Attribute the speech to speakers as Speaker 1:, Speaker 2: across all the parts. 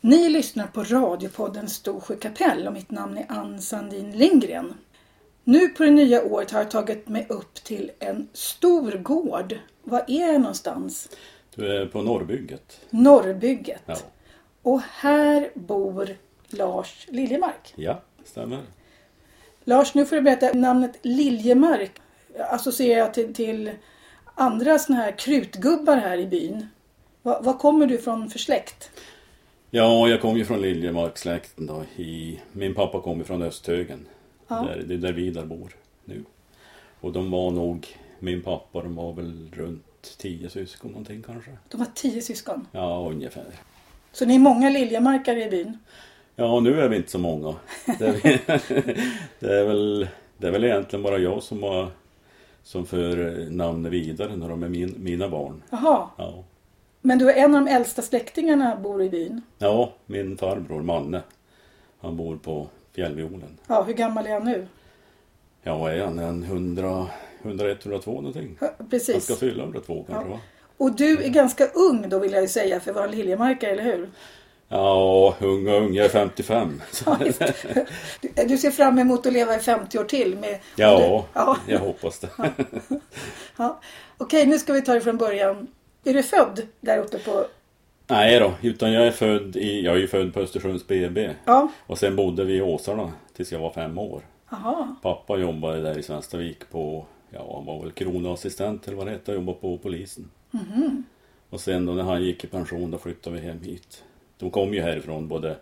Speaker 1: Ni lyssnar på radiopodden Storsjö kapell och mitt namn är Ann Sandin Lindgren. Nu på det nya året har jag tagit mig upp till en stor gård. Var är jag någonstans?
Speaker 2: Du är på Norrbygget.
Speaker 1: Norrbygget.
Speaker 2: Ja,
Speaker 1: Och här bor Lars Liljemark.
Speaker 2: ja stämmer.
Speaker 1: Lars, nu får du berätta. Namnet Liljemark associerar jag till, till andra såna här krutgubbar här i byn. Va, vad kommer du från för släkt?
Speaker 2: Ja, jag kommer ju från Liljemarkssläkten då. I, min pappa kommer från Östhögen. Där, det är där Vidar bor nu. Och de var nog, min pappa, de var väl runt tio syskon någonting kanske.
Speaker 1: De har tio syskon.
Speaker 2: Ja, ungefär.
Speaker 1: Så ni är många Liljemarkare i byn.
Speaker 2: Ja, nu är vi inte så många. Det är, det är, väl, det är väl egentligen bara jag som, har, som för namnet vidare när de är min, mina barn.
Speaker 1: Jaha.
Speaker 2: Ja.
Speaker 1: Men du är en av de äldsta släktingarna bor i byn.
Speaker 2: ja, min farbror Manne. Han bor på Fjällviolen.
Speaker 1: Ja, hur gammal är jag nu?
Speaker 2: Ja, vad är han? En 100, 101, 102 någonting?
Speaker 1: Hö-
Speaker 2: Han ska
Speaker 1: Precis.
Speaker 2: fylla 102 kanske va?
Speaker 1: Och du är ganska ung då vill jag ju säga för att vara en Liljemarkare, eller hur?
Speaker 2: Ja, ung och ung, jag är 55.
Speaker 1: Ja, visst. Du, du ser fram emot att leva i 50 år till? Med,
Speaker 2: Ja,
Speaker 1: ja.
Speaker 2: jag hoppas det.
Speaker 1: ja. Okej, nu ska vi ta det från början. Är du född där uppe på...
Speaker 2: Nej då, utan jag är född i, jag är ju född på Östersunds BB.
Speaker 1: Ja,
Speaker 2: Och sen bodde vi i Åsarna tills jag var fem år.
Speaker 1: jaha.
Speaker 2: Pappa jobbade där i Svenstavik på, ja han var väl kronoassistent eller vad det hette, jobbade på polisen. Och sen då när han gick i pension då flyttade vi hem hit. De kom ju härifrån både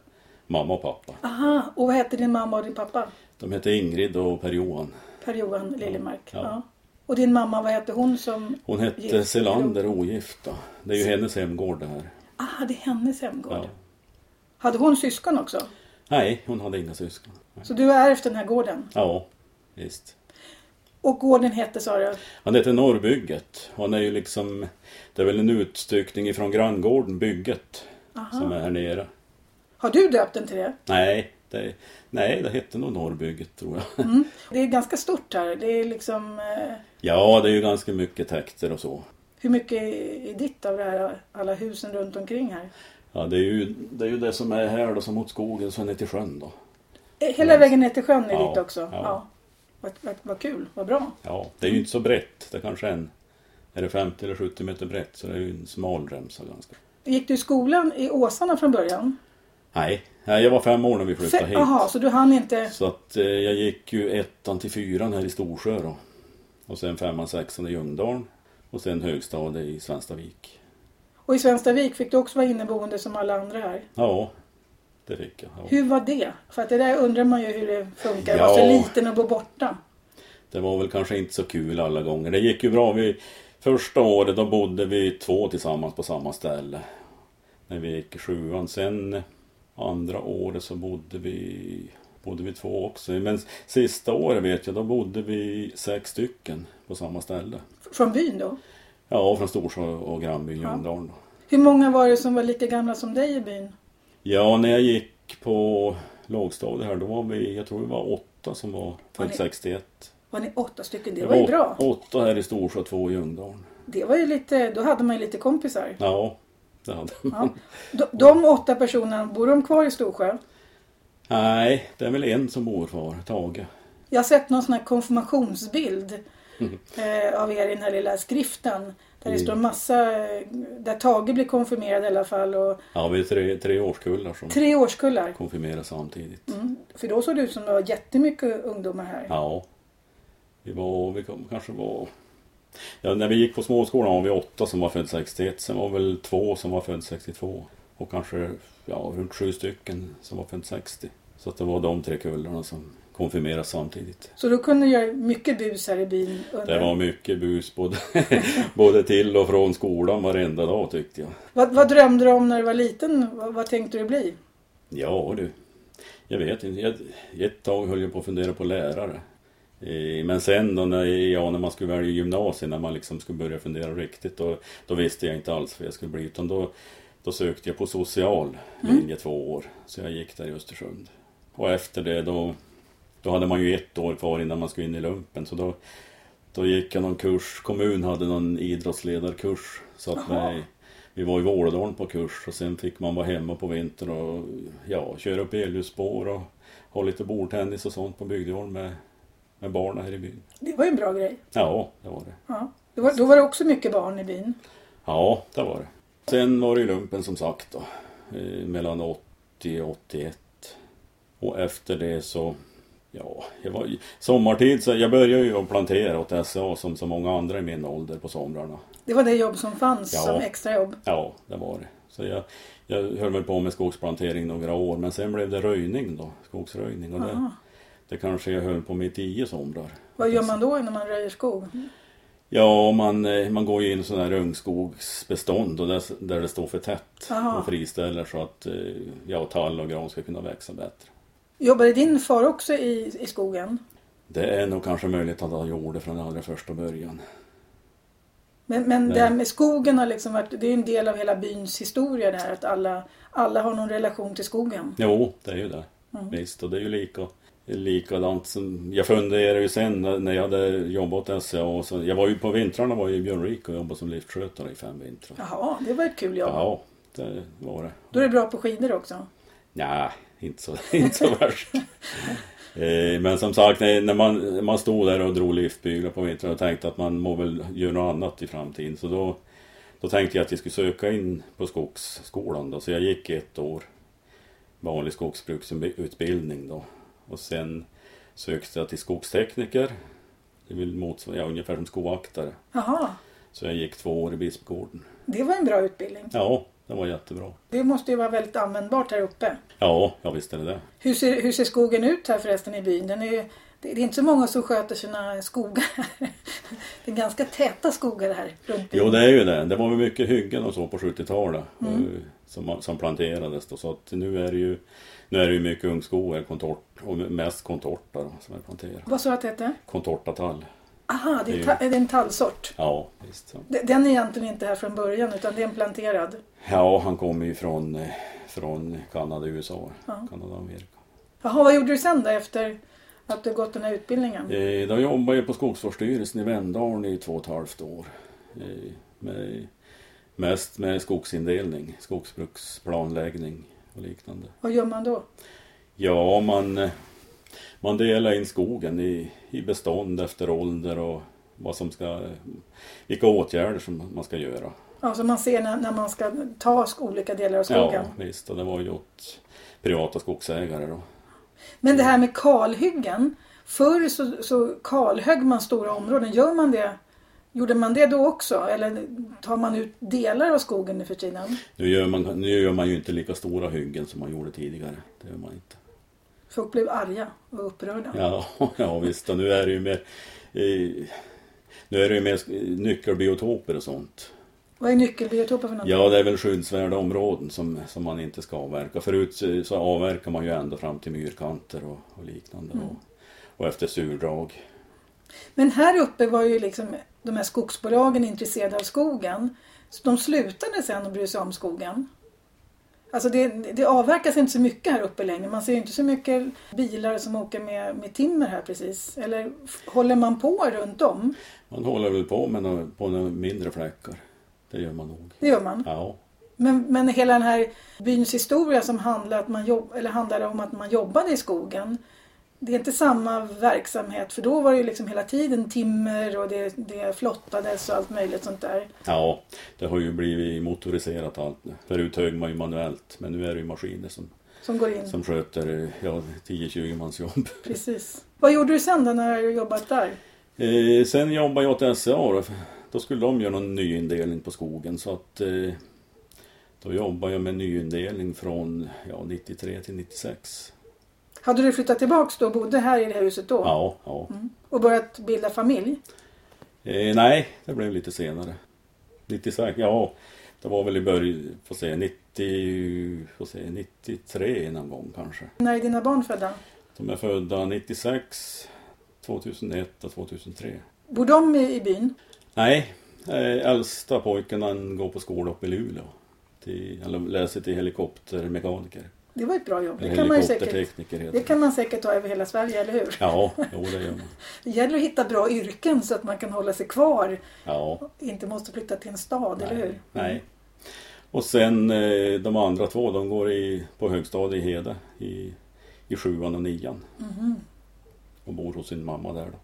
Speaker 2: mamma och pappa.
Speaker 1: Aha. Och vad hette din mamma och din pappa?
Speaker 2: De hette Ingrid och Per-Johan.
Speaker 1: Per-Johan Liljemark. Ja.
Speaker 2: Ja.
Speaker 1: Och din mamma, vad hette hon som...
Speaker 2: Hon hette
Speaker 1: Gift.
Speaker 2: Selander ogift då. Det är ju hennes hemgård det här.
Speaker 1: Ah, det är hennes hemgård.
Speaker 2: Ja.
Speaker 1: Hade hon syskon också?
Speaker 2: Nej, hon hade inga syskon.
Speaker 1: Så du är efter den här gården?
Speaker 2: Ja, visst.
Speaker 1: Och gården hette, sa du?
Speaker 2: Han heter Norrbygget. Han är ju liksom, det är väl en utstyckning ifrån granngården Bygget. Som är här nere.
Speaker 1: Har du döpt den till det?
Speaker 2: Nej, det, nej, det hette nog Norrbygget tror jag.
Speaker 1: Det är ganska stort här. Det är liksom... Eh,
Speaker 2: Ja, det är ju ganska mycket täkter och så.
Speaker 1: hur mycket är ditt av det här, alla husen runt omkring här?
Speaker 2: Ja, det är ju det, är ju det som är här då, som mot skogen så är ner till sjön då.
Speaker 1: Eh, Hela vägen ner till sjön är
Speaker 2: Ja,
Speaker 1: ditt också? Ja.
Speaker 2: ja.
Speaker 1: Vad, vad, vad kul, vad bra.
Speaker 2: Ja, det är ju inte så brett. Det kanske är en, är det 50 eller 70 meter brett så det är ju en smal remsa ganska.
Speaker 1: Gick du i skolan i Åsarna från början?
Speaker 2: Nej, nej, jag var fem år när vi flyttade
Speaker 1: Fe-
Speaker 2: hit.
Speaker 1: Jaha, så du hann inte...
Speaker 2: Så att eh, jag gick ju ettan till fyran här i Storsjö då. Och sen femman, sexan i Ljungdalen. Och sen högstadiet i Svenstavik.
Speaker 1: Och i Svenstavik fick du också vara inneboende som alla andra här.
Speaker 2: Ja, det fick jag. Ja.
Speaker 1: Hur var det? För att det där undrar man ju hur det funkar.
Speaker 2: Ja.
Speaker 1: Vara så liten och bo borta.
Speaker 2: Det var väl kanske inte så kul alla gånger. Det gick ju bra. Vi, första året då bodde vi två tillsammans på samma ställe. När vi gick i sjuan. Sen andra året så bodde vi, bodde vi två också. Men sista året vet jag, då bodde vi sex stycken på samma ställe.
Speaker 1: F- Från byn då?
Speaker 2: Ja, från Storsjö och grannbyn Ljungdalen. då.
Speaker 1: Hur många var det som var lika gamla som dig i byn?
Speaker 2: Ja, när jag gick på lågstadiet här då var vi, jag tror vi var åtta som var
Speaker 1: Var
Speaker 2: född
Speaker 1: ni-
Speaker 2: 61.
Speaker 1: Var ni åtta stycken? Det var ju
Speaker 2: åt-
Speaker 1: bra.
Speaker 2: Åtta här i Storsjö och två i Ljungdalen.
Speaker 1: Det var ju lite, då hade man ju lite kompisar.
Speaker 2: Ja, det hade
Speaker 1: Ja.
Speaker 2: man.
Speaker 1: De, de åtta personerna, bor de kvar i Storsjö?
Speaker 2: Nej, det är väl en som bor kvar, Tage.
Speaker 1: Jag har sett någon sån här konfirmationsbild eh, av er i den här lilla skriften. Där det
Speaker 2: Mhm. Mm.
Speaker 1: står massa, eh, där Tage blir konfirmerad i alla fall och
Speaker 2: Ja, vi är tre, tre årskullar som
Speaker 1: tre årskullar.
Speaker 2: konfirmeras samtidigt.
Speaker 1: Mm. För då såg det ut som det var jättemycket ungdomar här.
Speaker 2: Ja, vi var, vi kom, kanske var... Ja, när vi gick på småskolan var vi åtta som var född 61. Sen var väl två som var född 62. Och kanske ja, runt sju stycken som var född 60. Så att det var de tre kullarna som konfirmerades samtidigt.
Speaker 1: Så då kunde jag göra mycket bus här i byn.
Speaker 2: Det
Speaker 1: Under.
Speaker 2: var mycket bus både, både till och från skolan varenda dag tyckte jag.
Speaker 1: Vad, vad drömde du om när du var liten? Vad, vad tänkte du bli?
Speaker 2: Ja du, jag vet inte. Jag, ett tag höll jag på att fundera på lärare. Eh, Men sen då när, ja, när man skulle välja gymnasiet, när man liksom skulle börja fundera riktigt, då, då visste jag inte alls vad jag skulle bli. Utan då, då sökte jag på social linje två år. Så jag gick där i Östersund. Och efter det då, då hade man ju ett år kvar innan man skulle in i lumpen. Så då, då gick jag någon kurs, kommun hade någon idrottsledarkurs. Så att mig Vi var i Vålådalen på kurs och sen fick man vara hemma på vintern och ja, köra upp elljusspår och ha lite bordtennis och sånt på bygdegården med, med barnen här i byn.
Speaker 1: Det var ju en bra grej.
Speaker 2: Ja, det var det.
Speaker 1: Ja. Det var, då var det också mycket barn i byn.
Speaker 2: Ja, det var det. Sen var det ju lumpen som sagt då. eh, Mellan 80 och 81. Och efter det så... Ja, jag var, sommartid så jag började ju att plantera åt SA som så många andra i min ålder på somrarna.
Speaker 1: Det var det jobb som fanns
Speaker 2: Ja.
Speaker 1: som extrajobb.
Speaker 2: Ja, det var det. Så jag, jag höll väl på med skogsplantering några år men sen blev det röjning då, skogsröjning. Och det,
Speaker 1: Aha.
Speaker 2: det kanske jag höll på med i tio somrar.
Speaker 1: Vad gör man då när man röjer skog?
Speaker 2: Ja, och man, eh, man går ju in i sådana här ungskogsbestånd och där, där det står för tätt
Speaker 1: Aha.
Speaker 2: och friställer så att eh, ja, tall och gran ska kunna växa bättre.
Speaker 1: Jobbade din far också i, i skogen?
Speaker 2: Det är nog kanske möjligt att han gjorde det från allra första början.
Speaker 1: Men, men
Speaker 2: Nej.
Speaker 1: det här med skogen har liksom varit, det är ju en del av hela byns historia det här att alla, alla har någon relation till skogen.
Speaker 2: Jo, det är ju det. Visst, och det är ju lika, likadant som... Jag funderade ju sen när när jag hade jobbat åt SCA och så, Jag var ju på vintrarna var jag i Björnrike och jobbade som liftskötare i fem vintrar.
Speaker 1: Jaha, det var ett kul jobb.
Speaker 2: Ja, det var det.
Speaker 1: Då är det bra på skidor också.
Speaker 2: Nej, inte så, inte så värst. Eh, Men som sagt, eh, när man, man stod där och drog liftbyglar på vintern och tänkte att man må väl göra något annat i framtiden. Så då, då tänkte jag att jag skulle söka in på skogsskolan då. Så jag gick ett år vanlig skogsbruksutbildning då. Och sen sökte jag till skogstekniker. Det vill motsvara, ja, ungefär som skoaktare.
Speaker 1: Jaha,
Speaker 2: Så jag gick två år i Bispgården.
Speaker 1: det var en bra utbildning.
Speaker 2: Ja, det var jättebra.
Speaker 1: Det måste ju vara väldigt användbart här uppe.
Speaker 2: Ja, jag visste det där.
Speaker 1: Hur ser, hur ser skogen ut här förresten i byn? Den är, ju- det, det är inte så många som sköter sina skogar. Det är ganska täta skogar här runt byn.
Speaker 2: Jo det är ju det. Det var väl mycket hyggen och så på 70-talet eh, som, som planterades då. Så att nu är det ju nu är det ju mycket ungskogar, kontort och mest kontorta då, som är planterade.
Speaker 1: Vad sa du att det hette?
Speaker 2: Contortatall.
Speaker 1: Aha, det är,
Speaker 2: Det
Speaker 1: ta,
Speaker 2: är
Speaker 1: är det en tallsort.
Speaker 2: Ja, visst. Så.
Speaker 1: De- Den är egentligen inte här från början utan det är en planterad.
Speaker 2: Ja, han kommer ju från, eh, från Kanada, USA. Kanada, Amerika.
Speaker 1: Jaha, vad gjorde du sen då efter att du gått den här utbildningen?
Speaker 2: Eh, då jobbade jag på Skogsvårdsstyrelsen i Vemdalen i två och ett halvt år. Eh, med, mest med skogsindelning, skogsbruksplanläggning och liknande.
Speaker 1: Vad gör man då?
Speaker 2: Ja, man, man delar in skogen i, i bestånd efter ålder och vad som ska, vilka åtgärder som man ska göra.
Speaker 1: Alltså man ser när, när man ska ta sk- olika delar av skogen.
Speaker 2: Ja, visst. Och det var ju åt privata skogsägare då.
Speaker 1: Men det här med kalhyggen. Förr så, så kalhögg man stora områden. Gör man det? Gjorde man det då också? Eller tar man ut delar av skogen nu för tiden?
Speaker 2: Nu gör, man, nu gör man ju inte lika stora hyggen som man gjorde tidigare. Det gör man inte.
Speaker 1: Folk blev arga och upprörda.
Speaker 2: Ja, ja visst. Och nu är det ju mer, eh, nu är det ju mer sk- nyckelbiotoper och sånt.
Speaker 1: Vad är nyckelbiotoper för något?
Speaker 2: Ja, det är väl skyddsvärda områden som, som man inte ska avverka. Förut eh, så avverkar man ju ända fram till myrkanter och, och liknande. Och, och efter surdrag.
Speaker 1: Men här uppe var ju liksom de här skogsbolagen intresserade av skogen. Så de slutade sen att bry sig om skogen. Alltså det, det avverkas inte så mycket här uppe längre. Man ser ju inte så mycket bilar som åker med, med timmer här precis. Eller f- håller man på runt om?
Speaker 2: Man håller väl på med några, på några mindre fläckar. Det gör man nog.
Speaker 1: Det gör man.
Speaker 2: Ja,
Speaker 1: Men, men hela den här byns historia som handlar, att man jobb, eller handlade om att man jobbade i skogen. Det är inte samma verksamhet för då var det ju liksom hela tiden timmer och det, det flottades och allt möjligt sånt där.
Speaker 2: ja det har ju blivit motoriserat allt nu. Förut högg man ju manuellt men nu är det ju maskiner som,
Speaker 1: Som går in.
Speaker 2: som sköter eh, ja, 10-20 mans jobb.
Speaker 1: Precis. Vad gjorde du sen då när du jobbat där?
Speaker 2: Eh, sen jobbade jag åt SCA då. Då skulle de göra någon nyindelning på skogen så att eh, då jobbade jag med nyindelning från ja, 93 till 96.
Speaker 1: Hade du flyttat tillbaks då och bodde här i det här huset då? Mm.
Speaker 2: Ja, ja.
Speaker 1: Och börjat bilda familj?
Speaker 2: Eh, nej, det blev lite senare. 96, ja. Det var väl i början, får se, 90, får se, 93 någon gång kanske.
Speaker 1: När är dina barn födda?
Speaker 2: De är födda 96, 2001 och 2003.
Speaker 1: Bor de i, i byn?
Speaker 2: Nej, eh, äldsta pojken han går på skola uppe i Luleå. Till, eller läser till helikoptermekaniker.
Speaker 1: Det var ett bra jobb. Det
Speaker 2: Eller
Speaker 1: kan man ju säkert,
Speaker 2: helikoptertekniker heter
Speaker 1: det
Speaker 2: det.
Speaker 1: kan man säkert ta över hela Sverige, eller hur?
Speaker 2: Ja, jo det gör man.
Speaker 1: Det gäller att hitta bra yrken så att man kan hålla sig kvar.
Speaker 2: Ja,
Speaker 1: Inte måste flytta till en stad, eller
Speaker 2: nej,
Speaker 1: hur? Mm.
Speaker 2: nej. Och sen eh, de andra två, de går i, på högstadiet i Hede i, i sjuan och nian.
Speaker 1: Mhm.
Speaker 2: Och bor hos sin mamma där då.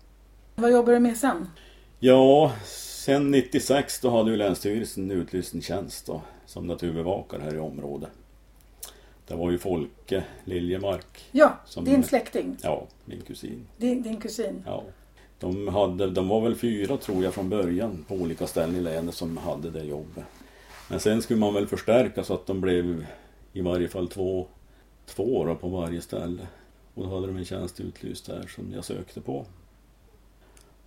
Speaker 1: Vad jobbar du med sen?
Speaker 2: Ja, sen 96 då hade ju Länsstyrelsen utlyst en tjänst då, som naturbevakare här i området. Det var ju Folke Liljemark,
Speaker 1: Ja,
Speaker 2: Som-
Speaker 1: din släkting.
Speaker 2: ja, min kusin.
Speaker 1: Din, din kusin.
Speaker 2: Ja. De, hade, de var väl fyra tror jag från början på olika ställen i länet som hade det jobbet. Men sen skulle man väl förstärka så att de blev i varje fall två, två då på varje ställe. Och då hade de en tjänst utlyst där som jag sökte på.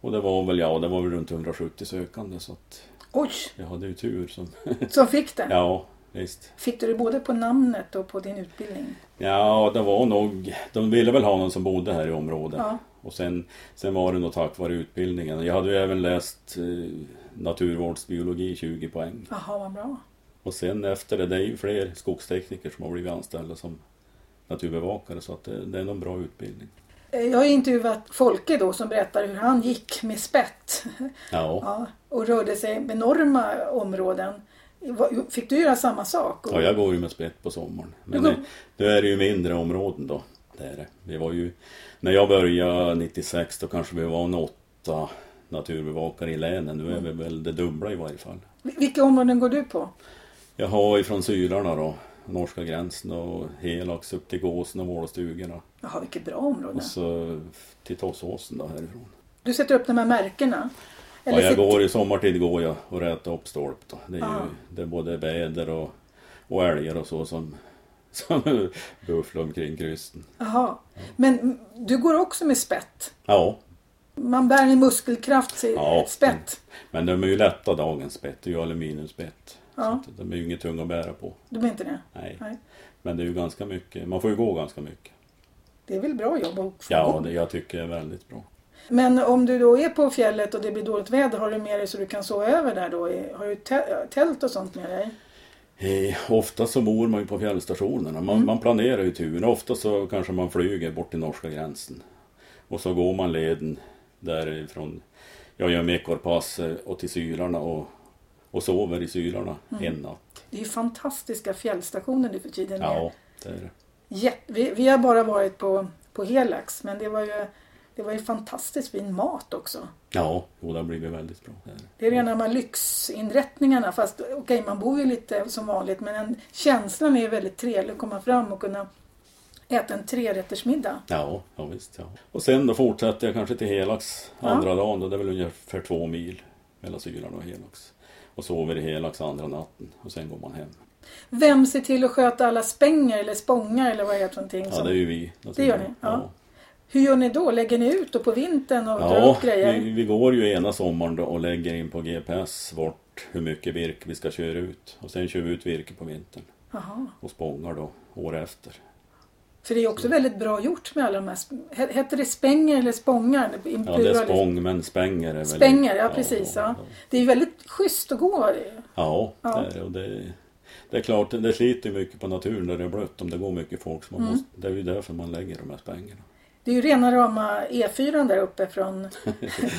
Speaker 2: Och det var väl, ja det var väl runt 170 sökande så att
Speaker 1: Oj,
Speaker 2: jag hade ju tur som...
Speaker 1: som fick den.
Speaker 2: Ja, visst.
Speaker 1: Fick du det både på namnet och på din utbildning?
Speaker 2: Ja, det var nog... De ville väl ha någon som bodde här i området.
Speaker 1: Ja.
Speaker 2: Och sen, sen var det nog tack vare utbildningen. Jag hade ju även läst eh, naturvårdsbiologi 20 poäng.
Speaker 1: Jaha, vad bra.
Speaker 2: Och sen efter det, det är ju fler skogstekniker som har blivit anställda som naturbevakare så att det, det är någon bra utbildning.
Speaker 1: Eh, Jag har intervjuat Folke då som berättar hur han gick med spett
Speaker 2: Ja,
Speaker 1: ja, och rörde sig med enorma områden. Vad- Fick du göra samma sak?
Speaker 2: ja jag går ju med spett på sommaren. Men
Speaker 1: Du
Speaker 2: nu,
Speaker 1: går-
Speaker 2: nu är det ju mindre områden då. Det är det. Vi var ju, när jag började 96 då kanske vi var en åtta naturbevakare i länen. Nu är vi väl det dubbla i varje fall.
Speaker 1: Vil- Vilka områden går du på?
Speaker 2: Jag har ifrån Sylarna då, norska gränsen och Helax upp till Gåsen och Vålstugorna.
Speaker 1: Jaha, vilket bra område.
Speaker 2: Och så till Tåssåsen då härifrån.
Speaker 1: Du sätter upp de här märkena?
Speaker 2: Ja, jag
Speaker 1: sitter-
Speaker 2: går i sommartid går jag och rätar upp stolp då. Det är,
Speaker 1: Ah.
Speaker 2: ju, det är både väder och, och älgar och så som, som bufflar omkring krysten.
Speaker 1: Jaha. Men mm, du går också med spett?
Speaker 2: Ja,
Speaker 1: Man bär i muskelkraft i
Speaker 2: Ja. mm.
Speaker 1: ett spett.
Speaker 2: men de är ju lätta dagens spett. Det är ju aluminiumspett. Så
Speaker 1: Ja,
Speaker 2: att de är ju inget tunga att bära på.
Speaker 1: du är inte det?
Speaker 2: Nej.
Speaker 1: Nej.
Speaker 2: Men det är ju ganska mycket. Man får ju gå ganska mycket.
Speaker 1: Det är väl bra jobb att få
Speaker 2: Ja,
Speaker 1: igång.
Speaker 2: det jag tycker är väldigt bra.
Speaker 1: Men om du då är på fjället och det blir dåligt väder, har du med dig så du kan sova över där då? Har du tä- tält och sånt med dig?
Speaker 2: Eh, ofta så bor man ju på fjällstationerna. Man, man planerar ju turen. Ofta så kanske man flyger bort till norska gränsen. Och så går man leden därifrån. Jag gör Mekorpass eh, och till Sylarna och, och sover i Sylarna en natt.
Speaker 1: Det är ju fantastiska fjällstationer nu för tiden.
Speaker 2: Ja, Mm. det är det.
Speaker 1: Jätte- vi, vi har bara varit på, på Helax, men det var, ju, det var ju fantastiskt fin mat också.
Speaker 2: Ja, jo, det har blivit väldigt bra. Det är det.
Speaker 1: Det är rena de här lyxinrättningarna. Fast okej, man bor ju lite som vanligt men en, känslan är ju väldigt trevlig att komma fram och kunna äta en trerättersmiddag.
Speaker 2: Ja, ja visst. Ja. Och sen då fortsätter jag kanske till Helax andra dagen. Då det är väl ungefär två mil mellan Sylarna och Helax. Och sover i Helax andra natten och sen går man hem.
Speaker 1: Vem ser till att sköta alla spänger eller spångar eller vad det är för någonting?
Speaker 2: Ja,
Speaker 1: som-
Speaker 2: det är ju vi.
Speaker 1: Det gör ni, ja. Hur gör ni då? Lägger ni ut då på vintern och drar
Speaker 2: Ja,
Speaker 1: upp grejer?
Speaker 2: vi, vi går ju ena sommaren då och lägger in på GPS vart hur mycket virke vi ska köra ut. Och sen kör vi ut virke på vintern
Speaker 1: Jaha.
Speaker 2: och spångar då år efter.
Speaker 1: För det är ju också väldigt bra gjort med alla de här... sp- he- Heter det spänger eller spångar? I
Speaker 2: Ja, det
Speaker 1: plural.
Speaker 2: är spång men spänger är väl...
Speaker 1: Spänger, ja precis. Ja. Det är ju väldigt schysst att gå.
Speaker 2: Ja,
Speaker 1: Ja.
Speaker 2: Det, är, och det, det är klart det sliter ju mycket på naturen när det är blött om det går mycket folk. Så man
Speaker 1: Mm.
Speaker 2: måste, det är ju därför man lägger de här spängerna.
Speaker 1: Det är ju rena rama E4 där uppe från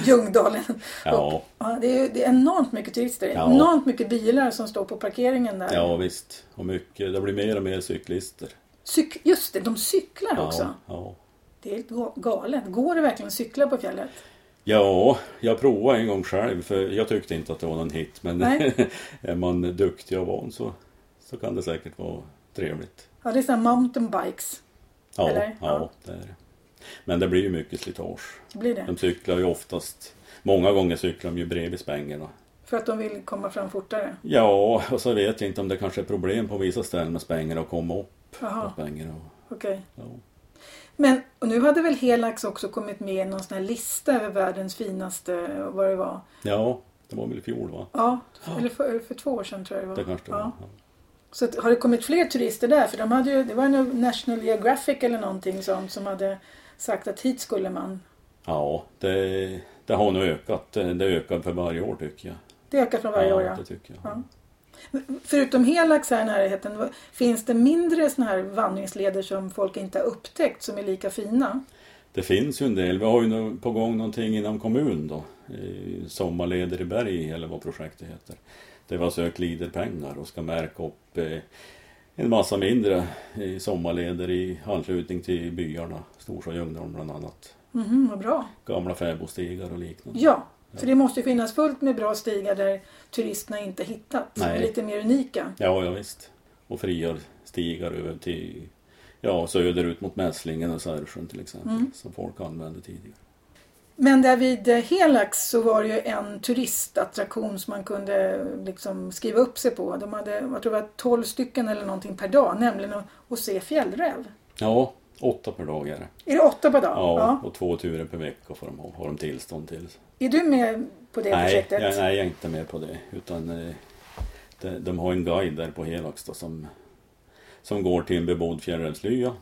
Speaker 1: Ljungdalen.
Speaker 2: Ja,
Speaker 1: Ja, det, är, ju- det är enormt mycket turister. Det är
Speaker 2: Ja.
Speaker 1: Enormt mycket bilar som står på parkeringen där.
Speaker 2: ja visst. Och mycket, det blir mer och mer cyklister.
Speaker 1: Cyk- just det, de cyklar också.
Speaker 2: Ja, ja.
Speaker 1: Det är helt ga- galet. Går det verkligen att cykla på fjället?
Speaker 2: Ja, jag provade en gång själv för jag tyckte inte att det var någon hit men
Speaker 1: Nej.
Speaker 2: är man duktig och van så, så kan det säkert vara trevligt.
Speaker 1: Ja, det är sådana mountainbikes.
Speaker 2: Ja, ja,
Speaker 1: Eller? Ja.
Speaker 2: det är det. Men det blir ju mycket slitage.
Speaker 1: Det blir det.
Speaker 2: De cyklar ju oftast, många gånger cyklar de ju bredvid spängerna.
Speaker 1: För att de vill komma fram fortare.
Speaker 2: Ja, och så vet jag inte om det kanske är problem på vissa ställen med spängerna att komma upp på
Speaker 1: Jaha,
Speaker 2: spängerna. och-
Speaker 1: okej.
Speaker 2: Ja.
Speaker 1: Men och nu hade väl Helax också kommit med i någon sån här lista över världens finaste, och vad det var.
Speaker 2: ja, det var väl i fjol va?
Speaker 1: Ja, eller för, för två år sedan tror jag det var.
Speaker 2: Det kanske det
Speaker 1: ja.
Speaker 2: var.
Speaker 1: Så att, har det kommit fler turister där? För de hade ju, det var ju National Geographic eller någonting som, som hade sagt att hit skulle man.
Speaker 2: Ja, det, det har nog ökat. Det, det ökar för varje år tycker jag.
Speaker 1: Det ökar från varje år
Speaker 2: ja,
Speaker 1: ja.
Speaker 2: det tycker jag.
Speaker 1: Ja. Förutom Helax här i närheten, vad- finns det mindre såna här vandringsleder som folk inte har upptäckt som är lika fina?
Speaker 2: Det finns ju en del. Vi har ju nu på gång någonting inom kommun då. Eh, Sommarleder i berg eller vad projektet heter. Där vi har sökt Leaderpengar och ska märka upp eh, en massa mindre eh, sommarleder i anslutning till byarna. Storsjö och Ljungdalen bland annat.
Speaker 1: Mhm, vad bra.
Speaker 2: Gamla fäbodstigar och liknande.
Speaker 1: Ja, för det måste ju finnas fullt med bra stigar där turisterna inte hittat. som är
Speaker 2: Nej.
Speaker 1: Lite mer unika.
Speaker 2: Ja, ja visst. Och friar stigar över till ja, söderut mot Mässlingen och Särsjön till exempel. Som folk använde tidigare.
Speaker 1: Men där vid eh, Helax så var det ju en turistattraktion som man kunde eh, liksom skriva upp sig på. De hade, jag tror det var 12 stycken eller någonting per dag, nämligen att, att se fjällräv.
Speaker 2: Ja, åtta per dag är det.
Speaker 1: Är det åtta per dag?
Speaker 2: Ja, och två turer per vecka får de ha, har de tillstånd till.
Speaker 1: Är du med på det
Speaker 2: Nej,
Speaker 1: projektet?
Speaker 2: jag, nej, jag är inte med på det. Utan eh, de, de har en guide där på Helax då, som, som går till en bebodd fjällrävslya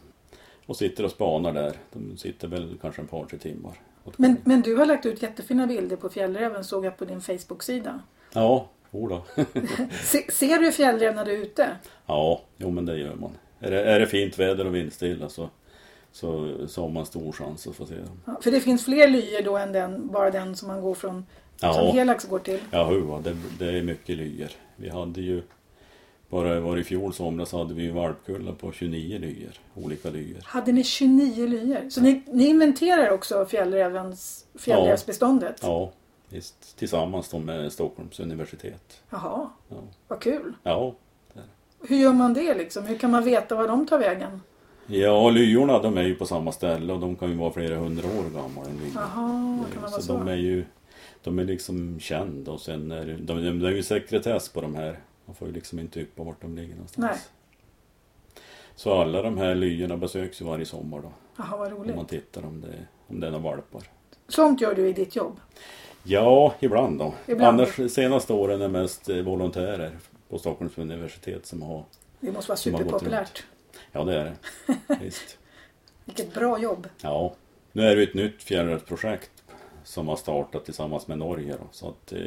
Speaker 2: och sitter och spanar där. De sitter väl kanske en par, tre timmar.
Speaker 1: Men, men du har lagt ut jättefina bilder på fjällräven såg jag på din Facebook-sida.
Speaker 2: Ja, jo då.
Speaker 1: Se, ser du fjällräv när du är ute?
Speaker 2: Ja, jo men det gör man. Är det, är det fint väder och vindstilla så, så, så har man stor chans att få se dem.
Speaker 1: Ja, för det finns fler lyor då än den, bara den som man går från, som
Speaker 2: Ja,
Speaker 1: Helax går till.
Speaker 2: ja hua, det, det är mycket lyor. Vi hade ju, bara var i fjol somras hade vi ju valpkullar på 29 lyor, olika lyor.
Speaker 1: Hade ni 29 lyor? Så ni, ni inventerar också fjällrävens, fjällrävsbeståndet?
Speaker 2: Ja, visst. Tillsammans då med Stockholms universitet.
Speaker 1: Jaha,
Speaker 2: Ja,
Speaker 1: vad kul.
Speaker 2: ja.
Speaker 1: Hur gör man det liksom? Hur kan man veta var de tar vägen?
Speaker 2: ja lyorna de är ju på samma ställe och de kan ju vara flera hundra år gamla. en lya.
Speaker 1: Jaha, vad kan man vara
Speaker 2: Så,
Speaker 1: så?
Speaker 2: de är ju de är liksom kända och sen är det, de, de, det är ju sekretess på de här. Man får ju liksom inte yppa vart de ligger någonstans.
Speaker 1: Nej.
Speaker 2: Så alla de här lyorna besöks ju varje sommar då.
Speaker 1: Jaha, vad
Speaker 2: Om man
Speaker 1: roligt.
Speaker 2: tittar om det, om det är några valpar.
Speaker 1: Sånt gör du i ditt jobb?
Speaker 2: Ja, ibland då.
Speaker 1: Ibland.
Speaker 2: Annars senaste åren är mest eh, volontärer på Stockholms universitet som har...
Speaker 1: Det måste vara
Speaker 2: Som har gått runt.
Speaker 1: superpopulärt.
Speaker 2: Ja, det är det. Visst.
Speaker 1: Vilket bra jobb.
Speaker 2: Ja, nu är det ju ett nytt fjärrrättsprojekt som har startat tillsammans med Norge. Då. Så att, eh,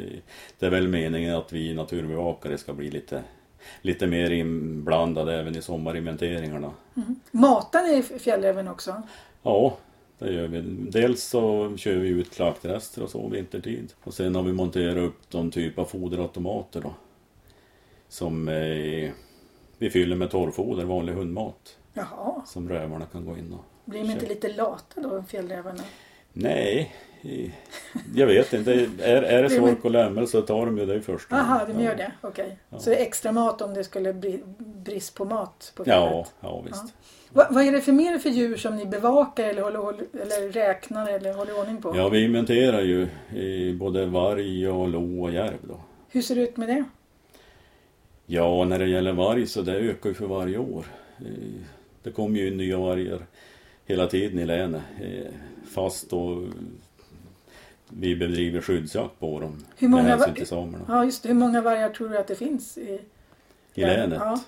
Speaker 2: det är väl meningen att vi naturbevakare ska bli lite, lite mer inblandade även i sommarinventeringarna.
Speaker 1: Matar ni fjällräven också?
Speaker 2: Ja, det gör vi. Dels så kör vi ut slaktrester och så vintertid. Och sen har vi monterat upp de typ av foderautomater då. Som eh, vi fyller med torrfoder, vanlig hundmat.
Speaker 1: Jaha,
Speaker 2: Som rövarna kan gå in och
Speaker 1: blir de inte
Speaker 2: Kör.
Speaker 1: lite lata då, fjällrävarna?
Speaker 2: Nej, eh, jag vet inte. Är, är det
Speaker 1: Jo, men-
Speaker 2: sork och lämmel så tar de ju det i första
Speaker 1: Aha,
Speaker 2: hand.
Speaker 1: de gör det? Okej. Så det är extra mat om det skulle bli brist på mat på fjället?
Speaker 2: Ja, ja visst.
Speaker 1: Va, vad är det för mer för djur som ni bevakar eller, håller, håller, eller räknar eller håller ordning på?
Speaker 2: Ja, vi inventerar ju eh, både varg och lo och järv då.
Speaker 1: Hur ser det ut med det?
Speaker 2: Ja, när det gäller varg så det ökar ju för varje år. Eh, Det kommer ju in nya vargar hela tiden i länet. eh, Fast då vi bedriver skyddsjakt på dem.
Speaker 1: Hur många
Speaker 2: med hänsyn
Speaker 1: var-
Speaker 2: till samerna
Speaker 1: Ja, just det. Hur många vargar tror du att det finns? I...
Speaker 2: i länet.
Speaker 1: Ja.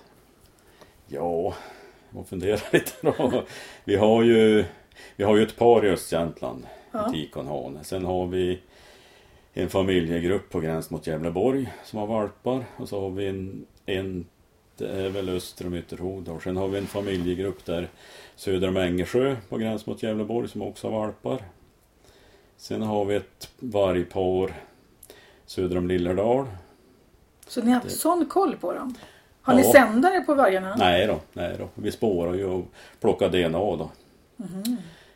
Speaker 2: Ja, man funderar lite då. Vi har ju, vi har ju ett par i Östjämtland,
Speaker 1: Ja.
Speaker 2: ja. tikonhane. Sen har vi en familjegrupp på gräns mot Gävleborg som har valpar. Och så har vi en, en det är väl öster om Ytterhogdal. Sen har vi en familjegrupp där söder om Ängersjö på gräns mot Gävleborg som också har valpar. Sen har vi ett vargpar söder om Lillerdal.
Speaker 1: Så ni har haft
Speaker 2: Det-
Speaker 1: sån koll på dem? Har ni
Speaker 2: Ja.
Speaker 1: sändare på vargarna?
Speaker 2: Nej då, nej då. Vi spårar ju och plockar DNA då.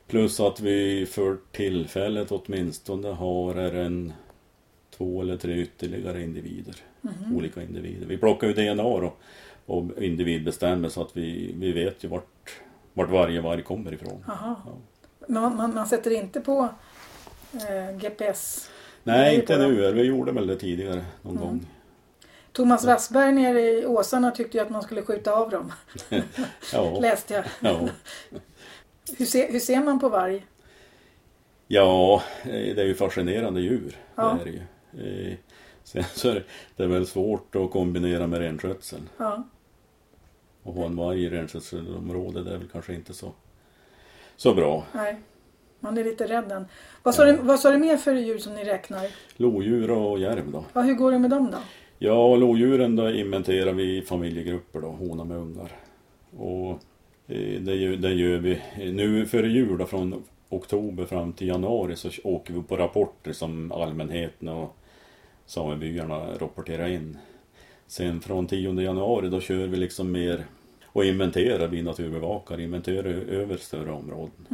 Speaker 2: Plus att vi för tillfället åtminstone har här en två eller tre ytterligare individer.
Speaker 1: Mhm. Mm.
Speaker 2: Olika individer. Vi plockar ju DNA då och individbestämmer så att vi, vi vet ju vart, vart varje varg kommer ifrån.
Speaker 1: Jaha. Men man, man, man sätter inte på eh, GPS? det är
Speaker 2: Nej,
Speaker 1: ju Mm.
Speaker 2: inte
Speaker 1: bra.
Speaker 2: nu. Vi gjorde väl det tidigare någon gång.
Speaker 1: Thomas Wassberg nere i Åsarna tyckte ju att man skulle skjuta av dem,
Speaker 2: Ja,
Speaker 1: läste jag.
Speaker 2: ja.
Speaker 1: Hur, se, hur ser man på varg?
Speaker 2: Ja, eh, det är ju fascinerande djur.
Speaker 1: Ja.
Speaker 2: Det är det ju. Eh, Sen så är det- det är väl svårt att kombinera med renskötseln.
Speaker 1: Ja.
Speaker 2: Och ha en varg i renskötselområde det är väl kanske inte så, så bra.
Speaker 1: Nej, man är lite rädd än. Vad sa, du, vad sa du mer för djur som ni räknar?
Speaker 2: Lodjur och järv då?
Speaker 1: Ja, hur går det med dem då?
Speaker 2: Ja, lodjuren då inventerar vi i familjegrupper då, hona med ungar. Och eh, det gör, det gör vi Eh, nu före jul då, från oktober fram till januari så åker vi på rapporter som allmänheten och samebyarna rapporterar in. Sen från 10 januari då kör vi liksom mer och inventerar, vi naturbevakare inventerar över större områden.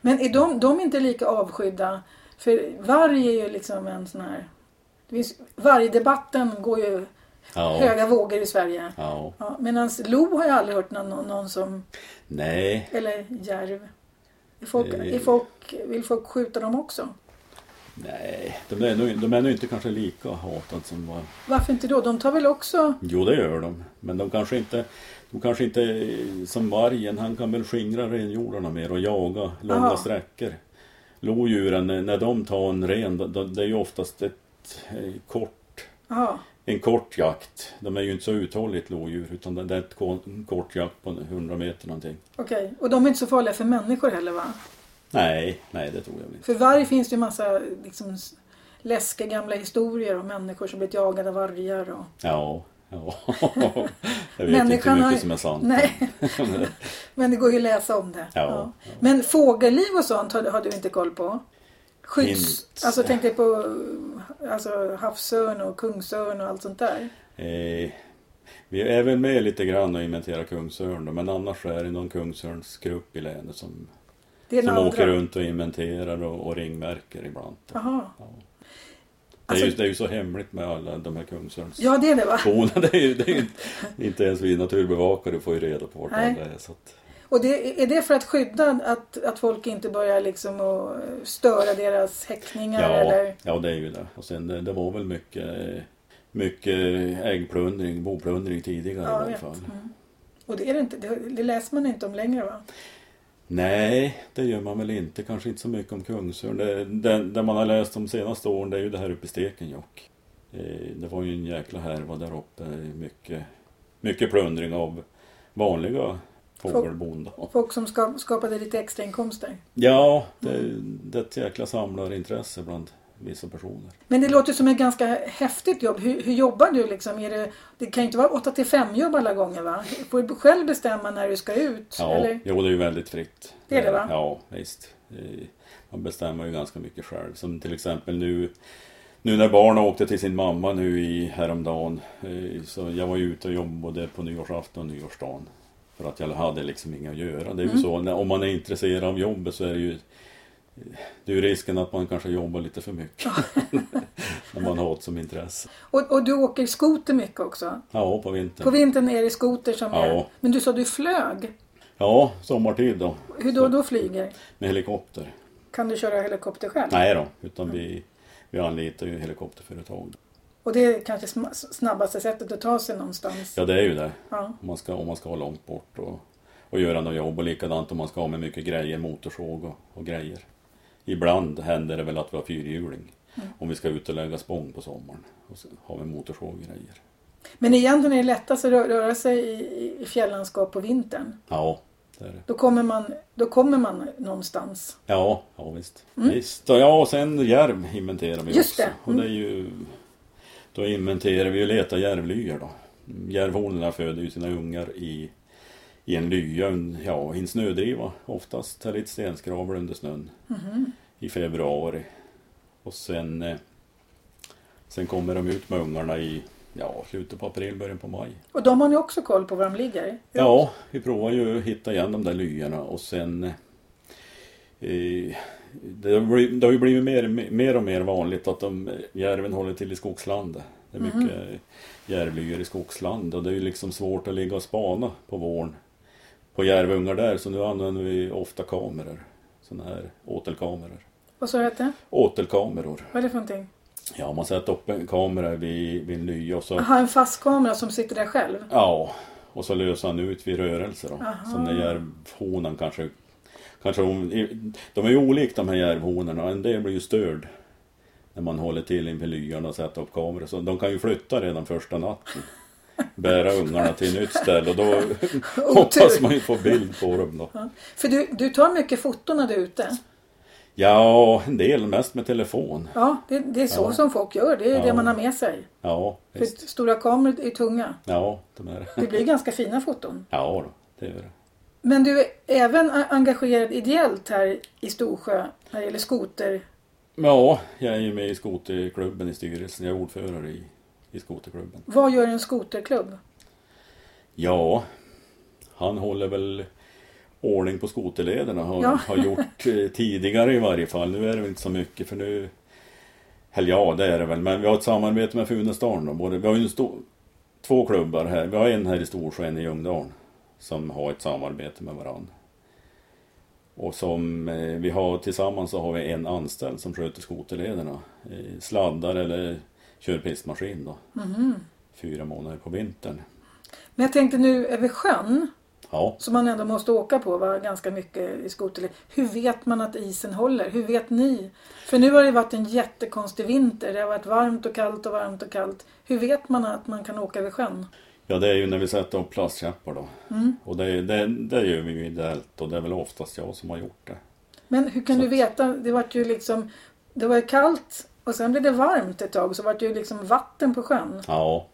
Speaker 1: Men är de, de är inte lika avskydda? För varg är ju liksom en sån här... Det finns, vargdebatten går ju
Speaker 2: Ja,
Speaker 1: höga vågor i Sverige.
Speaker 2: ja.
Speaker 1: Ja, Medan lo har jag aldrig hört någon, någon som...
Speaker 2: Nej,
Speaker 1: Eller järv. Är folk,
Speaker 2: Eh.
Speaker 1: är folk, vill folk skjuta dem också?
Speaker 2: nej. De är, nog, de är nog inte kanske lika hatade som var
Speaker 1: Varför inte då? De tar väl också...
Speaker 2: Jo, det gör de. Men de kanske inte, de kanske inte eh, som vargen, han kan väl skingra renhjordarna mer och jaga långa
Speaker 1: Aha.
Speaker 2: sträckor. Lodjuren, eh, när de tar en ren, då- då- det är ju oftast ett eh, kort,
Speaker 1: Ja,
Speaker 2: en kort jakt. De är ju inte så uthålligt lodjur, utan det det är ett ko- en kort jakt på 100 meter någonting.
Speaker 1: okej. Och de är inte så farliga för människor heller va?
Speaker 2: Nej, nej det tror jag väl inte.
Speaker 1: För varg finns det ju massa liksom, s- läskiga gamla historier om människor som blivit jagade av vargar. Och...
Speaker 2: Ja, ja. jag vet inte
Speaker 1: Människan
Speaker 2: hur
Speaker 1: har ju-
Speaker 2: mycket som är sant.
Speaker 1: Nej, men det går ju att läsa om det.
Speaker 2: Ja, ja.
Speaker 1: Men fågelliv och sånt har, har du inte koll på? Skydds...
Speaker 2: Inte.
Speaker 1: Alltså tänk dig på eh, alltså, havsörn och kungsörn och allt sånt där.
Speaker 2: Eh, vi är väl med lite grann och inventerar kungsörn då, men annars är det någon kungsörnsgrupp i länet som,
Speaker 1: Det är
Speaker 2: som
Speaker 1: den andra.
Speaker 2: åker runt och inventerar och, och ringmärker ibland. Det,
Speaker 1: Jaha.
Speaker 2: är ju,
Speaker 1: Alltså,
Speaker 2: det är ju så hemligt med alla de här kungsörns...
Speaker 1: ja, det är det va?
Speaker 2: Det är ju, det är ju inte, inte ens vi naturbevakare får ju reda på vart
Speaker 1: Nej.
Speaker 2: alla är. Så att,
Speaker 1: Och det, är det för att skydda att, att folk inte börjar liksom och störa deras häckningar
Speaker 2: ja,
Speaker 1: eller?
Speaker 2: ja, det är ju det. Och sen det, det var väl mycket, eh, mycket äggplundring, boplundring tidigare
Speaker 1: Ja, jag
Speaker 2: i alla
Speaker 1: vet.
Speaker 2: fall.
Speaker 1: Mm. Och det är det inte. Det, det läser man inte om längre va?
Speaker 2: Nej, det gör man väl inte. Kanske inte så mycket om Kungsörn. Det, det, det man har läst de senaste åren det är ju det här uppe i Stekenjokk. Eh, Det var ju en jäkla härva där uppe. Mycket, mycket plundring av vanliga fågelbon. då.
Speaker 1: Folk som ska, skapade lite extra inkomster.
Speaker 2: Ja, det, det är ett jäkla samlarintresse bland vissa personer.
Speaker 1: Men det låter som ett ganska häftigt jobb. Hur, hur jobbar du liksom? Är det, det kan ju inte vara 8 till 5 jobb alla gånger va? Får du själv bestämma när du ska ut?
Speaker 2: Ja,
Speaker 1: Eller?
Speaker 2: jo, det är ju väldigt fritt.
Speaker 1: Det är det, va?
Speaker 2: Ja, visst. Eh, Man bestämmer ju ganska mycket själv. Som till exempel nu, nu när barnen åkte till sin mamma nu i häromdagen. eh, Så jag var ju ute och jobbade på nyårsafton och nyårsdagen. För att jag hade liksom inget att göra. Det är ju
Speaker 1: Mm.
Speaker 2: så, när- om man är intresserad av jobbet så är det ju det är ju risken att man kanske jobbar lite för mycket. när man har ett som intresse.
Speaker 1: Och, och du åker skoter mycket också?
Speaker 2: Ja, på vintern.
Speaker 1: På vintern är det skoter som
Speaker 2: Ja.
Speaker 1: är... Men du sa du flög?
Speaker 2: Ja, sommartid då.
Speaker 1: Hur då då flyger?
Speaker 2: Med helikopter.
Speaker 1: Kan du köra helikopter själv?
Speaker 2: Nej då, utan vi, vi anlitar ju helikopterföretag.
Speaker 1: Och det är kanske sm- snabbaste sättet att ta sig någonstans?
Speaker 2: Ja, det är ju det.
Speaker 1: Ja.
Speaker 2: Om man ska, om man ska vara långt bort och, och göra något jobb och likadant om man ska ha med mycket grejer, motorsåg och, och grejer. Ibland händer det väl att vi har fyrhjuling. Om vi ska ut och lägga spång på sommaren. Och så har vi motorsåg och grejer.
Speaker 1: Men egentligen är det lättast att rö- röra sig i, i fjälllandskap på vintern.
Speaker 2: Ja, det är det.
Speaker 1: Då kommer man, då kommer man någonstans.
Speaker 2: Ja, ja visst. visst. Och ja, och sen järv inventerar vi
Speaker 1: Just
Speaker 2: också.
Speaker 1: det. Mm.
Speaker 2: Och det är ju, då inventerar vi och letar järvlyor då. Järvhonorna föder ju sina ungar i, i en lya, en- ja, i en snödriva oftast. Eller i ett stenskravel under snön
Speaker 1: Mhm.
Speaker 2: i februari. Och sen, eh, sen kommer de ut med ungarna i ja, slutet på april, början på maj.
Speaker 1: Och de har ni också koll på var de ligger?
Speaker 2: Ja, vi provar ju att hitta igen de där lyorna och sen... Eh, det, har blivit, det har ju blivit mer, mer och mer vanligt att de, järven håller till i skogslandet. Det är mycket järvlyor i skogsland och det är ju liksom svårt att ligga och spana på våren på järvungar där så nu använder vi ofta kameror. Sådana här åtelkameror.
Speaker 1: Vad sa du att det
Speaker 2: Åtelkameror.
Speaker 1: Vad är det för någonting?
Speaker 2: Ja, man sätter upp en kamera vid, vid en lya och så
Speaker 1: Aha, en fast kamera som sitter där själv?
Speaker 2: Ja, och så löser han ut vid rörelser då.
Speaker 1: Aha.
Speaker 2: Som när järvhonan kanske... kanske hon, de är ju olika de här järvhonorna. En del blir ju störd när man håller till inför lyan och sätter upp kameror. Så de kan ju flytta redan första natten. Bära ungarna till nytt ställe och då hoppas man ju få bild på dem då.
Speaker 1: För du, du tar mycket foton när du är ute?
Speaker 2: Ja, en del. Mest med telefon.
Speaker 1: Ja, det, det är så
Speaker 2: Ja.
Speaker 1: som folk gör. Det är
Speaker 2: Ja.
Speaker 1: det man har med sig.
Speaker 2: Ja,
Speaker 1: För
Speaker 2: visst.
Speaker 1: stora kameror är tunga.
Speaker 2: Ja, de är
Speaker 1: Det blir ganska fina foton.
Speaker 2: Ja då, det är det.
Speaker 1: Men du är även a- engagerad ideellt här i Storsjö när det gäller skoter.
Speaker 2: Ja, jag är ju med i skoterklubben i styrelsen. Jag är ordförande i, i i skoterklubben.
Speaker 1: Vad gör en skoterklubb?
Speaker 2: Ja, han håller väl ordning på skoterlederna. Har,
Speaker 1: Ja.
Speaker 2: har gjort eh, tidigare i varje fall. Nu är det väl inte så mycket för nu... Eller ja, det är det väl. Men vi har ett samarbete med Funäsdalen. då. Både- Vi har ju en stor, två klubbar här. Vi har en här i Storsjö och en i Ljungdalen. Som har ett samarbete med varandra. Och som eh, vi har tillsammans så har vi en anställd som sköter skoterlederna. Eh, sladdar eller kör pistmaskin då. Fyra månader på vintern.
Speaker 1: Mhm. Men jag tänkte nu över sjön,
Speaker 2: Ja.
Speaker 1: som man ändå måste åka på va? ganska mycket i skoterled. Hur vet man att isen håller? Hur vet ni? För nu har det varit en jättekonstig vinter. Det har varit varmt och kallt och varmt och kallt. Hur vet man att man kan åka över sjön?
Speaker 2: Ja, det är ju när vi sätter upp plastkäppar då.
Speaker 1: Mm.
Speaker 2: Och det, är- det, det gör vi ju ideellt och det är väl oftast jag som har gjort det.
Speaker 1: Men hur kan
Speaker 2: Så
Speaker 1: du
Speaker 2: att-
Speaker 1: veta? Det var ju liksom... Det var ju kallt och sen blev det varmt ett tag så var det ju liksom vatten på sjön.
Speaker 2: Ja,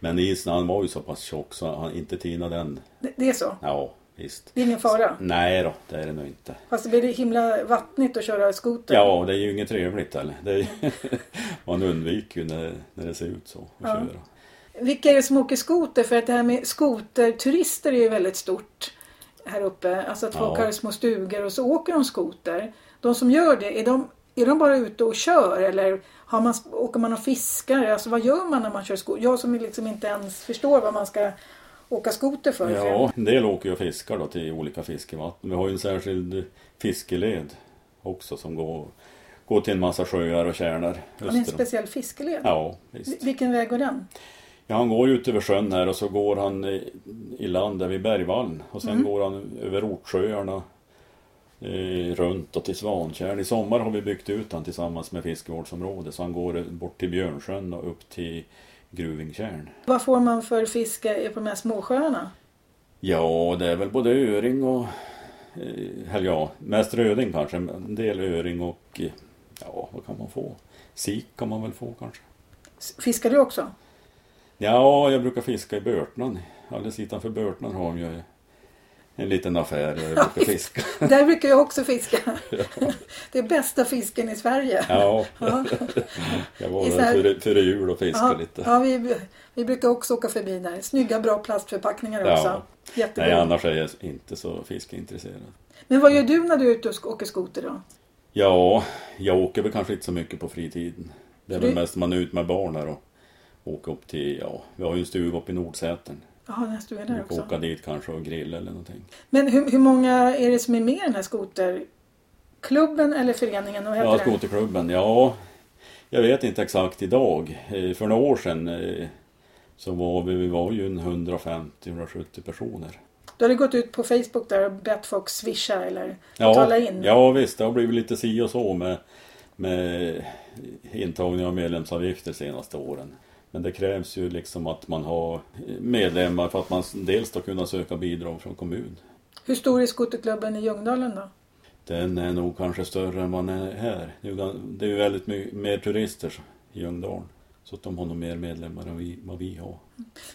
Speaker 2: men isen han var ju så pass tjock så han inte tinade än.
Speaker 1: Det, det är så.
Speaker 2: Ja, visst.
Speaker 1: Det är ingen fara.
Speaker 2: Nej då, det är det nog inte.
Speaker 1: Fast det blir det himla vattnigt att köra skoter.
Speaker 2: Ja, det är ju inget trevligt eller? Det är, man undviker ju när, när det ser ut så att köra.
Speaker 1: Vilka är det som åker skoter? För att det här med skoterturister är ju väldigt stort här uppe. Alltså att folk
Speaker 2: Ja.
Speaker 1: har små stugor och så åker de skoter. De som gör det, är de, är de bara ute och kör eller har man, åker man och fiskar? Alltså vad gör man när man kör skoter? Jag som liksom inte ens förstår vad man ska åka skoter för.
Speaker 2: Ja, en del åker ju och fiskar då till olika fiskevatten. Vi har ju en särskild fiskeled också som går, går till en massa sjöar och tjärnar.
Speaker 1: det är en
Speaker 2: öster om-
Speaker 1: speciell fiskeled.
Speaker 2: Ja, visst.
Speaker 1: Vil- Vilken väg går den?
Speaker 2: Ja, han går ju ut över sjön här och så går han i- i land där vid Bergvallen och sen går han över Ortsjöarna eh, runt och till Svantjärn. I sommar har vi byggt ut han tillsammans med fiskevårdsområdet så han går bort till Björnsjön och upp till Gruvingtjärn.
Speaker 1: Vad får man för fiske på de här småsjöarna?
Speaker 2: Ja, det är väl både öring och... eh, Eller ja, mest röding kanske, men en del öring och... eh, Ja, vad kan man få? Sik kan man väl få kanske?
Speaker 1: S- Fiskar du också?
Speaker 2: Ja, jag brukar fiska i Börtnan. Alldeles utanför Börtnan har de ju en liten affär där jag brukar fiska.
Speaker 1: Där brukar jag också fiska. Det är bästa fisken i Sverige.
Speaker 2: Ja,
Speaker 1: Ja.
Speaker 2: jag var
Speaker 1: Det är så här-
Speaker 2: där före, före jul och fiskade lite.
Speaker 1: ja vi, vi brukar också åka förbi där. Snygga bra plastförpackningar
Speaker 2: Ja.
Speaker 1: också. Jättebra.
Speaker 2: Nej, annars är jag inte så fiskeintresserad.
Speaker 1: Men vad gör du när du är ute och sk- åker skoter då?
Speaker 2: Ja, jag åker väl kanske inte så mycket på fritiden. Det är
Speaker 1: Du-
Speaker 2: väl mest man är ute med barn här och åker upp till, ja, vi har ju en stuga uppe i Nordsätern.
Speaker 1: Jaha, den här stugan
Speaker 2: Vi
Speaker 1: där
Speaker 2: brukar
Speaker 1: också.
Speaker 2: åka dit kanske och grilla eller någonting.
Speaker 1: Men hur, hur många är det som är med i den här skoterklubben eller föreningen? Vad heter
Speaker 2: Ja,
Speaker 1: den?
Speaker 2: skoterklubben. Ja, jag vet inte exakt idag. Eh, För några år sedan eh, så var vi, vi var ju en 150-170 personer.
Speaker 1: Då har du gått ut på Facebook där och bett folk swisha eller
Speaker 2: Ja,
Speaker 1: betala in.
Speaker 2: ja visst, det har blivit lite si och så med, med intagning av medlemsavgifter de senaste åren. Men det krävs ju liksom att man har medlemmar för att man dels ska kunna söka bidrag från kommun.
Speaker 1: Hur stor är skoterklubben i Ljungdalen då?
Speaker 2: Den är nog kanske större än vad den är här. Det är ju gan- det är ju väldigt mycket mer turister i Ljungdalen. Så att de har nog mer medlemmar än vi, vad vi har.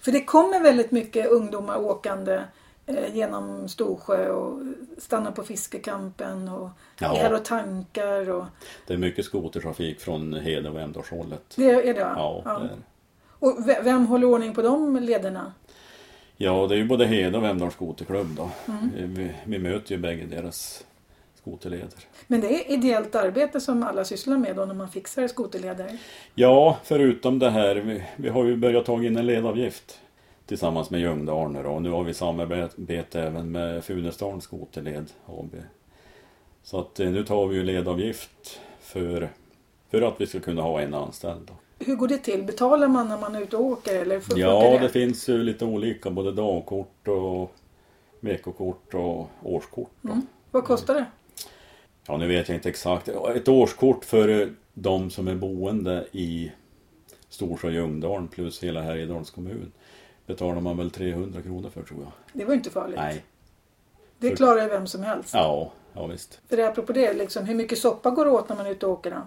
Speaker 1: För det kommer väldigt mycket ungdomar åkande eh, genom Storsjö och stannar på fiskekampen och
Speaker 2: Ja.
Speaker 1: är här och tankar. Och,
Speaker 2: Det är mycket skotertrafik från Heden och Vemdalshållet.
Speaker 1: det är det va?
Speaker 2: Ja,
Speaker 1: Ja.
Speaker 2: det är. det.
Speaker 1: Och ve- vem håller ordning på de lederna?
Speaker 2: ja, det är ju både Heden och Vemdals skoterklubb då. Vi, vi möter ju bägge deras skoterleder.
Speaker 1: Men det är ideellt arbete som alla sysslar med då när man fixar skoterleder.
Speaker 2: Ja, förutom det här, vi, vi har ju börjat ta in en ledavgift tillsammans med Ljungdalen nu då. och nu har vi samarbete även med Funäsdalens skoterled AB. Så att eh, nu tar vi ju ledavgift för, för att vi ska kunna ha en anställd. Då.
Speaker 1: Hur går det till? Betalar man när man är ute och åker? Eller hur
Speaker 2: Ja,
Speaker 1: funkar
Speaker 2: det finns ju lite olika, både dagkort och veckokort och årskort. Då.
Speaker 1: Vad kostar det?
Speaker 2: Ja, nu vet jag inte exakt. Ett årskort för eh, de som är boende i Storsjö och Ljungdalen plus hela Härjedalens kommun betalar man väl 300 kronor för tror jag.
Speaker 1: Det var ju inte farligt.
Speaker 2: Nej.
Speaker 1: Det klarar ju vem som helst.
Speaker 2: Ja, ja visst.
Speaker 1: För det är apropå det, liksom, hur mycket soppa går åt när man är ute och åker då?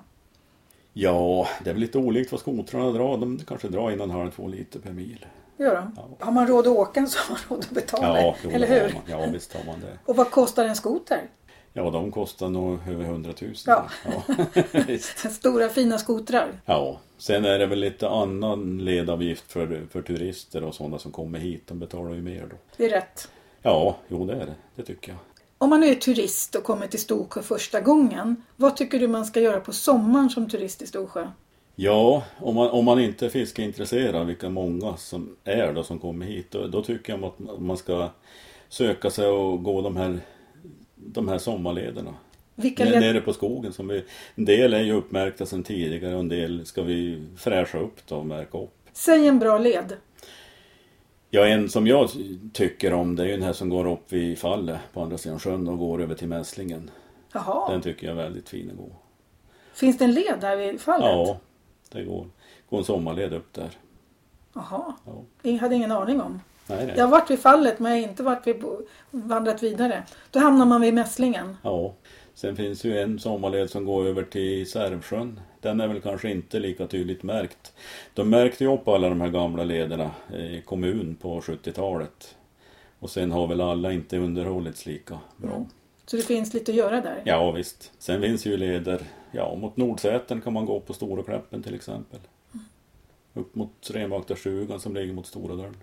Speaker 2: Ja, det är väl lite olikt vad skotrarna drar. De kanske drar in en halv två liter per mil.
Speaker 1: Det gör de. Har man råd att åka så har man råd att betala.
Speaker 2: jo,
Speaker 1: eller
Speaker 2: det har
Speaker 1: hur?
Speaker 2: man. Ja, visst har man det.
Speaker 1: Och vad kostar en skoter?
Speaker 2: Ja, de kostar nog över 100 000.
Speaker 1: Ja.
Speaker 2: Ja, visst.
Speaker 1: Stora fina skotrar.
Speaker 2: ja. Sen är det väl lite annan ledavgift för, för turister och sådana som kommer hit. De betalar ju mer då.
Speaker 1: Det är rätt.
Speaker 2: Ja, jo det är det. Det tycker jag.
Speaker 1: Om man nu är turist och kommer till Storsjö första gången, vad tycker du man ska göra på sommaren som turist i Storsjö?
Speaker 2: Ja, om man, om man inte är fiskeintresserad, vilka många som är då som kommer hit, då, då tycker jag att man ska söka sig och gå de här, de här sommarlederna.
Speaker 1: Vilka
Speaker 2: N-
Speaker 1: led...
Speaker 2: Nere på skogen som vi, en del är ju uppmärkta sedan tidigare och en del ska vi fräscha upp då och märka upp.
Speaker 1: Säg en bra led.
Speaker 2: Ja, en som jag tycker om det är ju den här som går upp vid fallet på andra sidan sjön och går över till Mässlingen.
Speaker 1: Jaha,
Speaker 2: Den tycker jag är väldigt fin att gå.
Speaker 1: finns det en led här vid fallet?
Speaker 2: Ja, det går, går en sommarled upp där.
Speaker 1: Jaha,
Speaker 2: Ja.
Speaker 1: jag hade ingen aning om.
Speaker 2: Nej, nej.
Speaker 1: Jag har varit vid fallet men jag har inte varit vid bo- vandrat vidare. Då hamnar man vid mässlingen.
Speaker 2: Ja, sen finns ju en sommarled som går över till Särvsjön. Den är väl kanske inte lika tydligt märkt. De märkte ju upp alla de här gamla lederna i kommun på 70-talet. Och sen har väl alla inte underhållits lika bra.
Speaker 1: Så det finns lite att göra där.
Speaker 2: Ja visst. Sen finns ju leder, ja mot Nordsätern kan man gå på Stora Kläppen till exempel. Upp mot Renvaktarstugan som ligger mot Stora Dörren.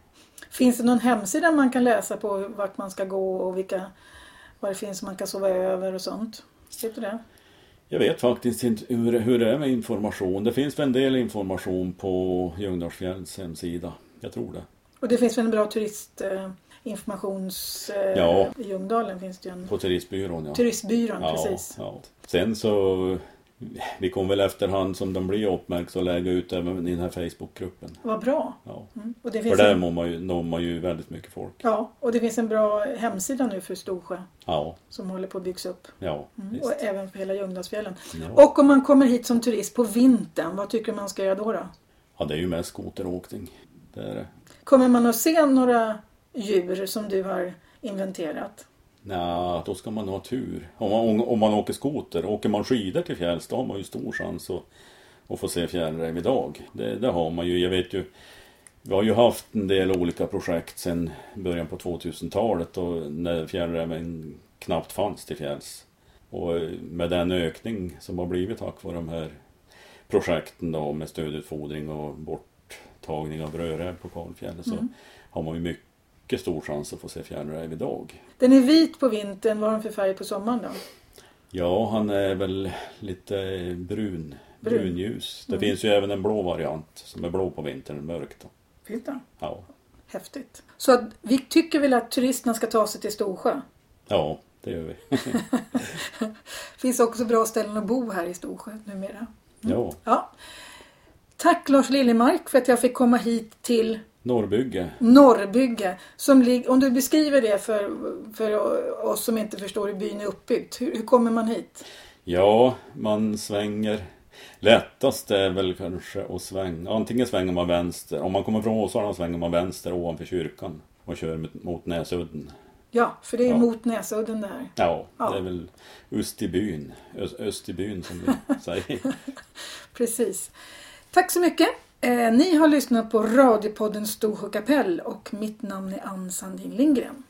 Speaker 1: Finns det någon hemsida man kan läsa på vart man ska gå och vilka, vad det finns man kan sova över och sånt? Vet du det?
Speaker 2: Jag vet faktiskt inte hur, hur det är med information. Det finns väl en del information på Ljungdahlsfjälls hemsida. Jag tror det.
Speaker 1: Och det finns väl en bra turistinformations... Eh,
Speaker 2: Ja.
Speaker 1: I Ljungdalen finns det ju en
Speaker 2: På turistbyrån ja.
Speaker 1: turistbyrån
Speaker 2: ja,
Speaker 1: precis.
Speaker 2: ja. Sen så, vi kom väl efterhand som de blir uppmärksamma och lägga ut även i den här Facebookgruppen.
Speaker 1: Vad bra.
Speaker 2: Ja.
Speaker 1: Mm. Och det
Speaker 2: För
Speaker 1: finns
Speaker 2: där
Speaker 1: en,
Speaker 2: når man, ju, når man ju väldigt mycket folk.
Speaker 1: ja, och det finns en bra hemsida nu för Storsjö
Speaker 2: Ja,
Speaker 1: som håller på att byggas upp.
Speaker 2: ja, Mm. visst.
Speaker 1: Mm. Och även för hela Ljungdalsfjällen.
Speaker 2: ja.
Speaker 1: Och om man kommer hit som turist på vintern, vad tycker du man ska göra då? då?
Speaker 2: ja, det är ju mest skoteråkning. Det är det.
Speaker 1: Kommer man att se några djur som du har inventerat?
Speaker 2: Nja, då ska man ha tur. Om man, om, om man åker skoter, åker man skidor till fjälls då har man ju stor chans att, att få se fjällräv idag. Det, det har man ju. Jag vet ju, vi har ju haft en del olika projekt sedan början på 2000-talet och när fjällräven knappt fanns till fjälls. Och eh, med den ökning som har blivit tack vare de här projekten då med stödutfodring och borttagning av rödräv på kalfjället
Speaker 1: Mm.
Speaker 2: så har man ju mycket stor chans att få se fjällräv idag.
Speaker 1: Den är vit på vintern, vad har den för färg på sommaren då?
Speaker 2: Ja, han är väl lite brun,
Speaker 1: Brun.
Speaker 2: brunljus. Det finns ju även en blå variant som är blå på vintern, mörk då.
Speaker 1: Fint då.
Speaker 2: Ja,
Speaker 1: Häftigt. Så att vi tycker väl att turisterna ska ta sig till Storsjö.
Speaker 2: ja det gör vi.
Speaker 1: finns också bra ställen att bo här i Storsjö numera.
Speaker 2: Ja,
Speaker 1: Ja. Tack Lars Liljemark för att jag fick komma hit till
Speaker 2: Norrbygge.
Speaker 1: Norrbygge. Som lig- om du beskriver det för, för oss som inte förstår hur byn är uppbyggd. Hur, hur kommer man hit?
Speaker 2: Ja, man svänger. Lättast är väl kanske att svänga. Antingen svänger man vänster. Om man kommer från Åsarna svänger man vänster ovanför kyrkan och kör mot- mot Näsudden.
Speaker 1: Ja, för det är
Speaker 2: Ja.
Speaker 1: mot Näsudden det här.
Speaker 2: Ja,
Speaker 1: Ja.
Speaker 2: det är väl Österbyn. Ö- Österbyn som vi säger.
Speaker 1: Precis. Tack så mycket. Eh, ni har lyssnat på radiopodden Storsjö kapell och mitt namn är Ann Sandin Lindgren.